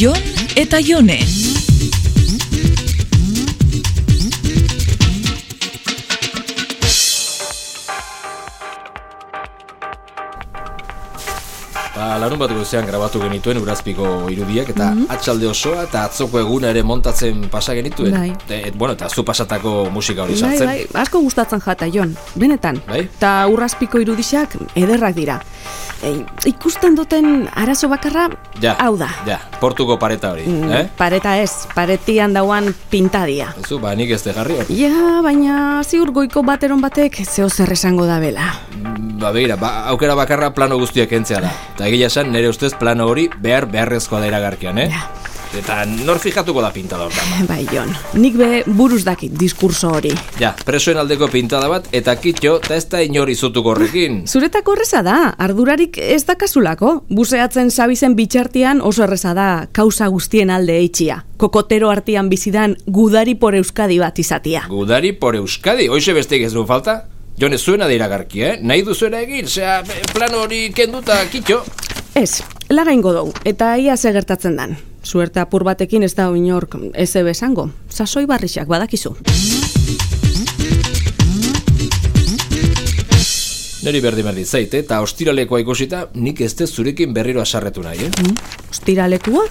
Jon eta Jone. Ba, larun bat goizean grabatu genituen urazpiko irudiak eta Mhm. atxalde osoa eta atzoko eguna ere montatzen pasa genituen. Bai. E, et, bueno, eta zu pasatako musika hori Bai, sartzen. bai, asko gustatzen jata, Jon, benetan. Bai? Ta urrazpiko irudixak ederrak dira. E, ikusten duten arazo bakarra, Ja, bai. hau da. Ja, portuko pareta hori, Mm, eh? Pareta ez, paretian dauan pintadia. Zu, ba, nik ez dejarri hor. Ja, baina ziur goiko bateron batek zeo zer esango da bela. Ba, begira, ba, aukera bakarra plano guztiak entzea da. Eta egia esan, nire ustez plano hori behar beharrezkoa da iragarkian, eh? Ja. Eta nor fijatuko da pintada hortan. ba? Bai, Jon, nik be buruz dakit diskurso hori. Ja, presoen aldeko pintada bat, eta kitxo, eta ez da inor izutuko horrekin. Zuretako horreza da, ardurarik ez dakasulako. Buseatzen sabizen bitxartian oso erreza da kausa guztien alde eitxia. Kokotero artian bizidan gudari por Euskadi bat izatia. Gudari por Euskadi, hoize besteik ez du falta? Jone, zuena da iragarki, eh? Nahi duzuena egin, zea, plan hori kenduta kitxo. Ez, lagaingo dugu, eta ia ze gertatzen dan. Suerte apur batekin ez da inork ez esango. Sasoi barrixak badakizu. Neri berdin berdin zaite, eta eh? ostiralekoa ikusita, nik ez dez zurekin berriro asarretu nahi, eh? Mm. Ostiralekua?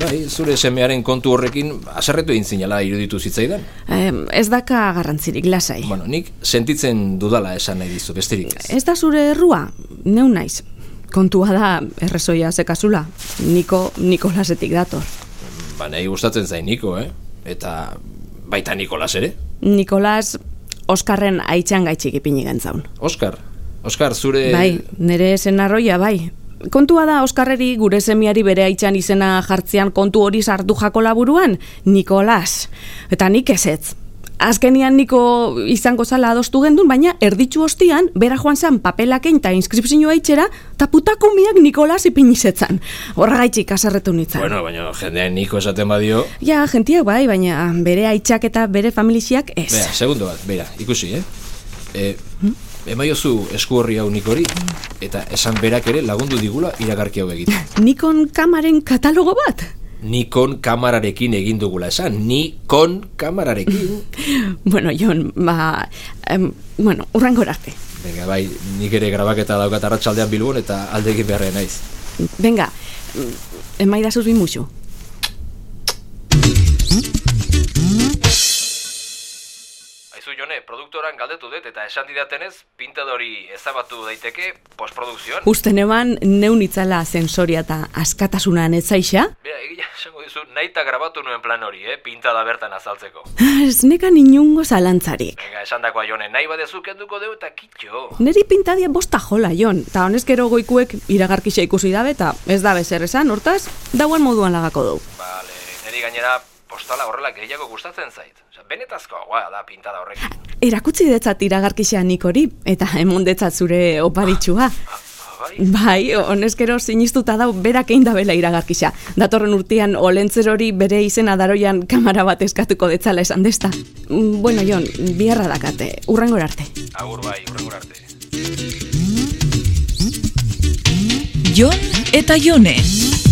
Bai, zure semearen kontu horrekin asarretu egin zinala iruditu zitzaidan. Em, ez daka garrantzirik, lasai. Bueno, nik sentitzen dudala esan nahi dizu, besterik ez. Ez da zure errua, neu naiz. Kontua da errezoia zekazula. Niko, Nikolasetik dator. Ba, nahi gustatzen zain niko, eh? Eta baita Nikolas ere. Nikolas Oskarren aitzan gaitxik ipini gantzaun. Oskar, Oskar, zure... Bai, nire senarroia bai. Kontua da Oskarreri gure semiari bere aitzan izena jartzean kontu hori sartu jako laburuan, Nikolas. Eta nik ezetz. Azkenian niko izango zala adostu gendun, baina erditzu ostian, bera joan zan papelaken eta inskripzioa itxera, eta putakumiak Nikolas ipinizetzan. Horra gaitxik azarretu nintzen. Bueno, baina jendean Niko esaten badio... Ja, jentiak bai, baina bere aitzak eta bere familixiak ez. Bea, segundo bat, beira, ikusi, eh? E, emaiozu esku horri hau nik hori, eta esan berak ere lagundu digula iragarki hau egiten. Nikon kamaren katalogo bat? Nikon kamararekin egin dugula esan, Nikon kamararekin. Bueno, Jon, ba... Em, bueno, urrangora arte. Venga, bai, nik ere grabaketa daukat arratsaldean bilbon eta alde egin beharrean naiz. Venga, em, emaidazuz bin musu. Aizu jone, produktoran galdetu dut eta esan didatenez, pintadori ezabatu daiteke postprodukzioan. Usten eman, neun itzala zensoria eta askatasunan etzaixa? Bea, egia esango dizu, nahi eta grabatu nuen plan hori, eh? Pintada bertan azaltzeko. Ez nekan inungo zalantzarik. Venga, esan dakoa jone, nahi badezu kenduko deu eta kitxo. Neri pintadia bosta jola, Jon, eta honezkero goikuek iragarkixa ikusi dabe, eta ez da bezer esan, hortaz, dauan moduan lagako dugu. Bale, niri gainera postala horrela gehiago gustatzen zait. Osea, benetazkoagoa da pintada horrekin. Erakutsi detzat iragarkixa nik hori, eta emondetzat zure oparitxua. Bai, Bai, honezkero sinistuta dau berak egin dabela iragarkisa. Datorren urtean olentzer hori bere izena daroian kamera bat eskatuko detzala esan desta. Mm, Bueno, Jon, biharra dakate, urrangora arte. agur bai, urrengur arte. Jon eta Jone.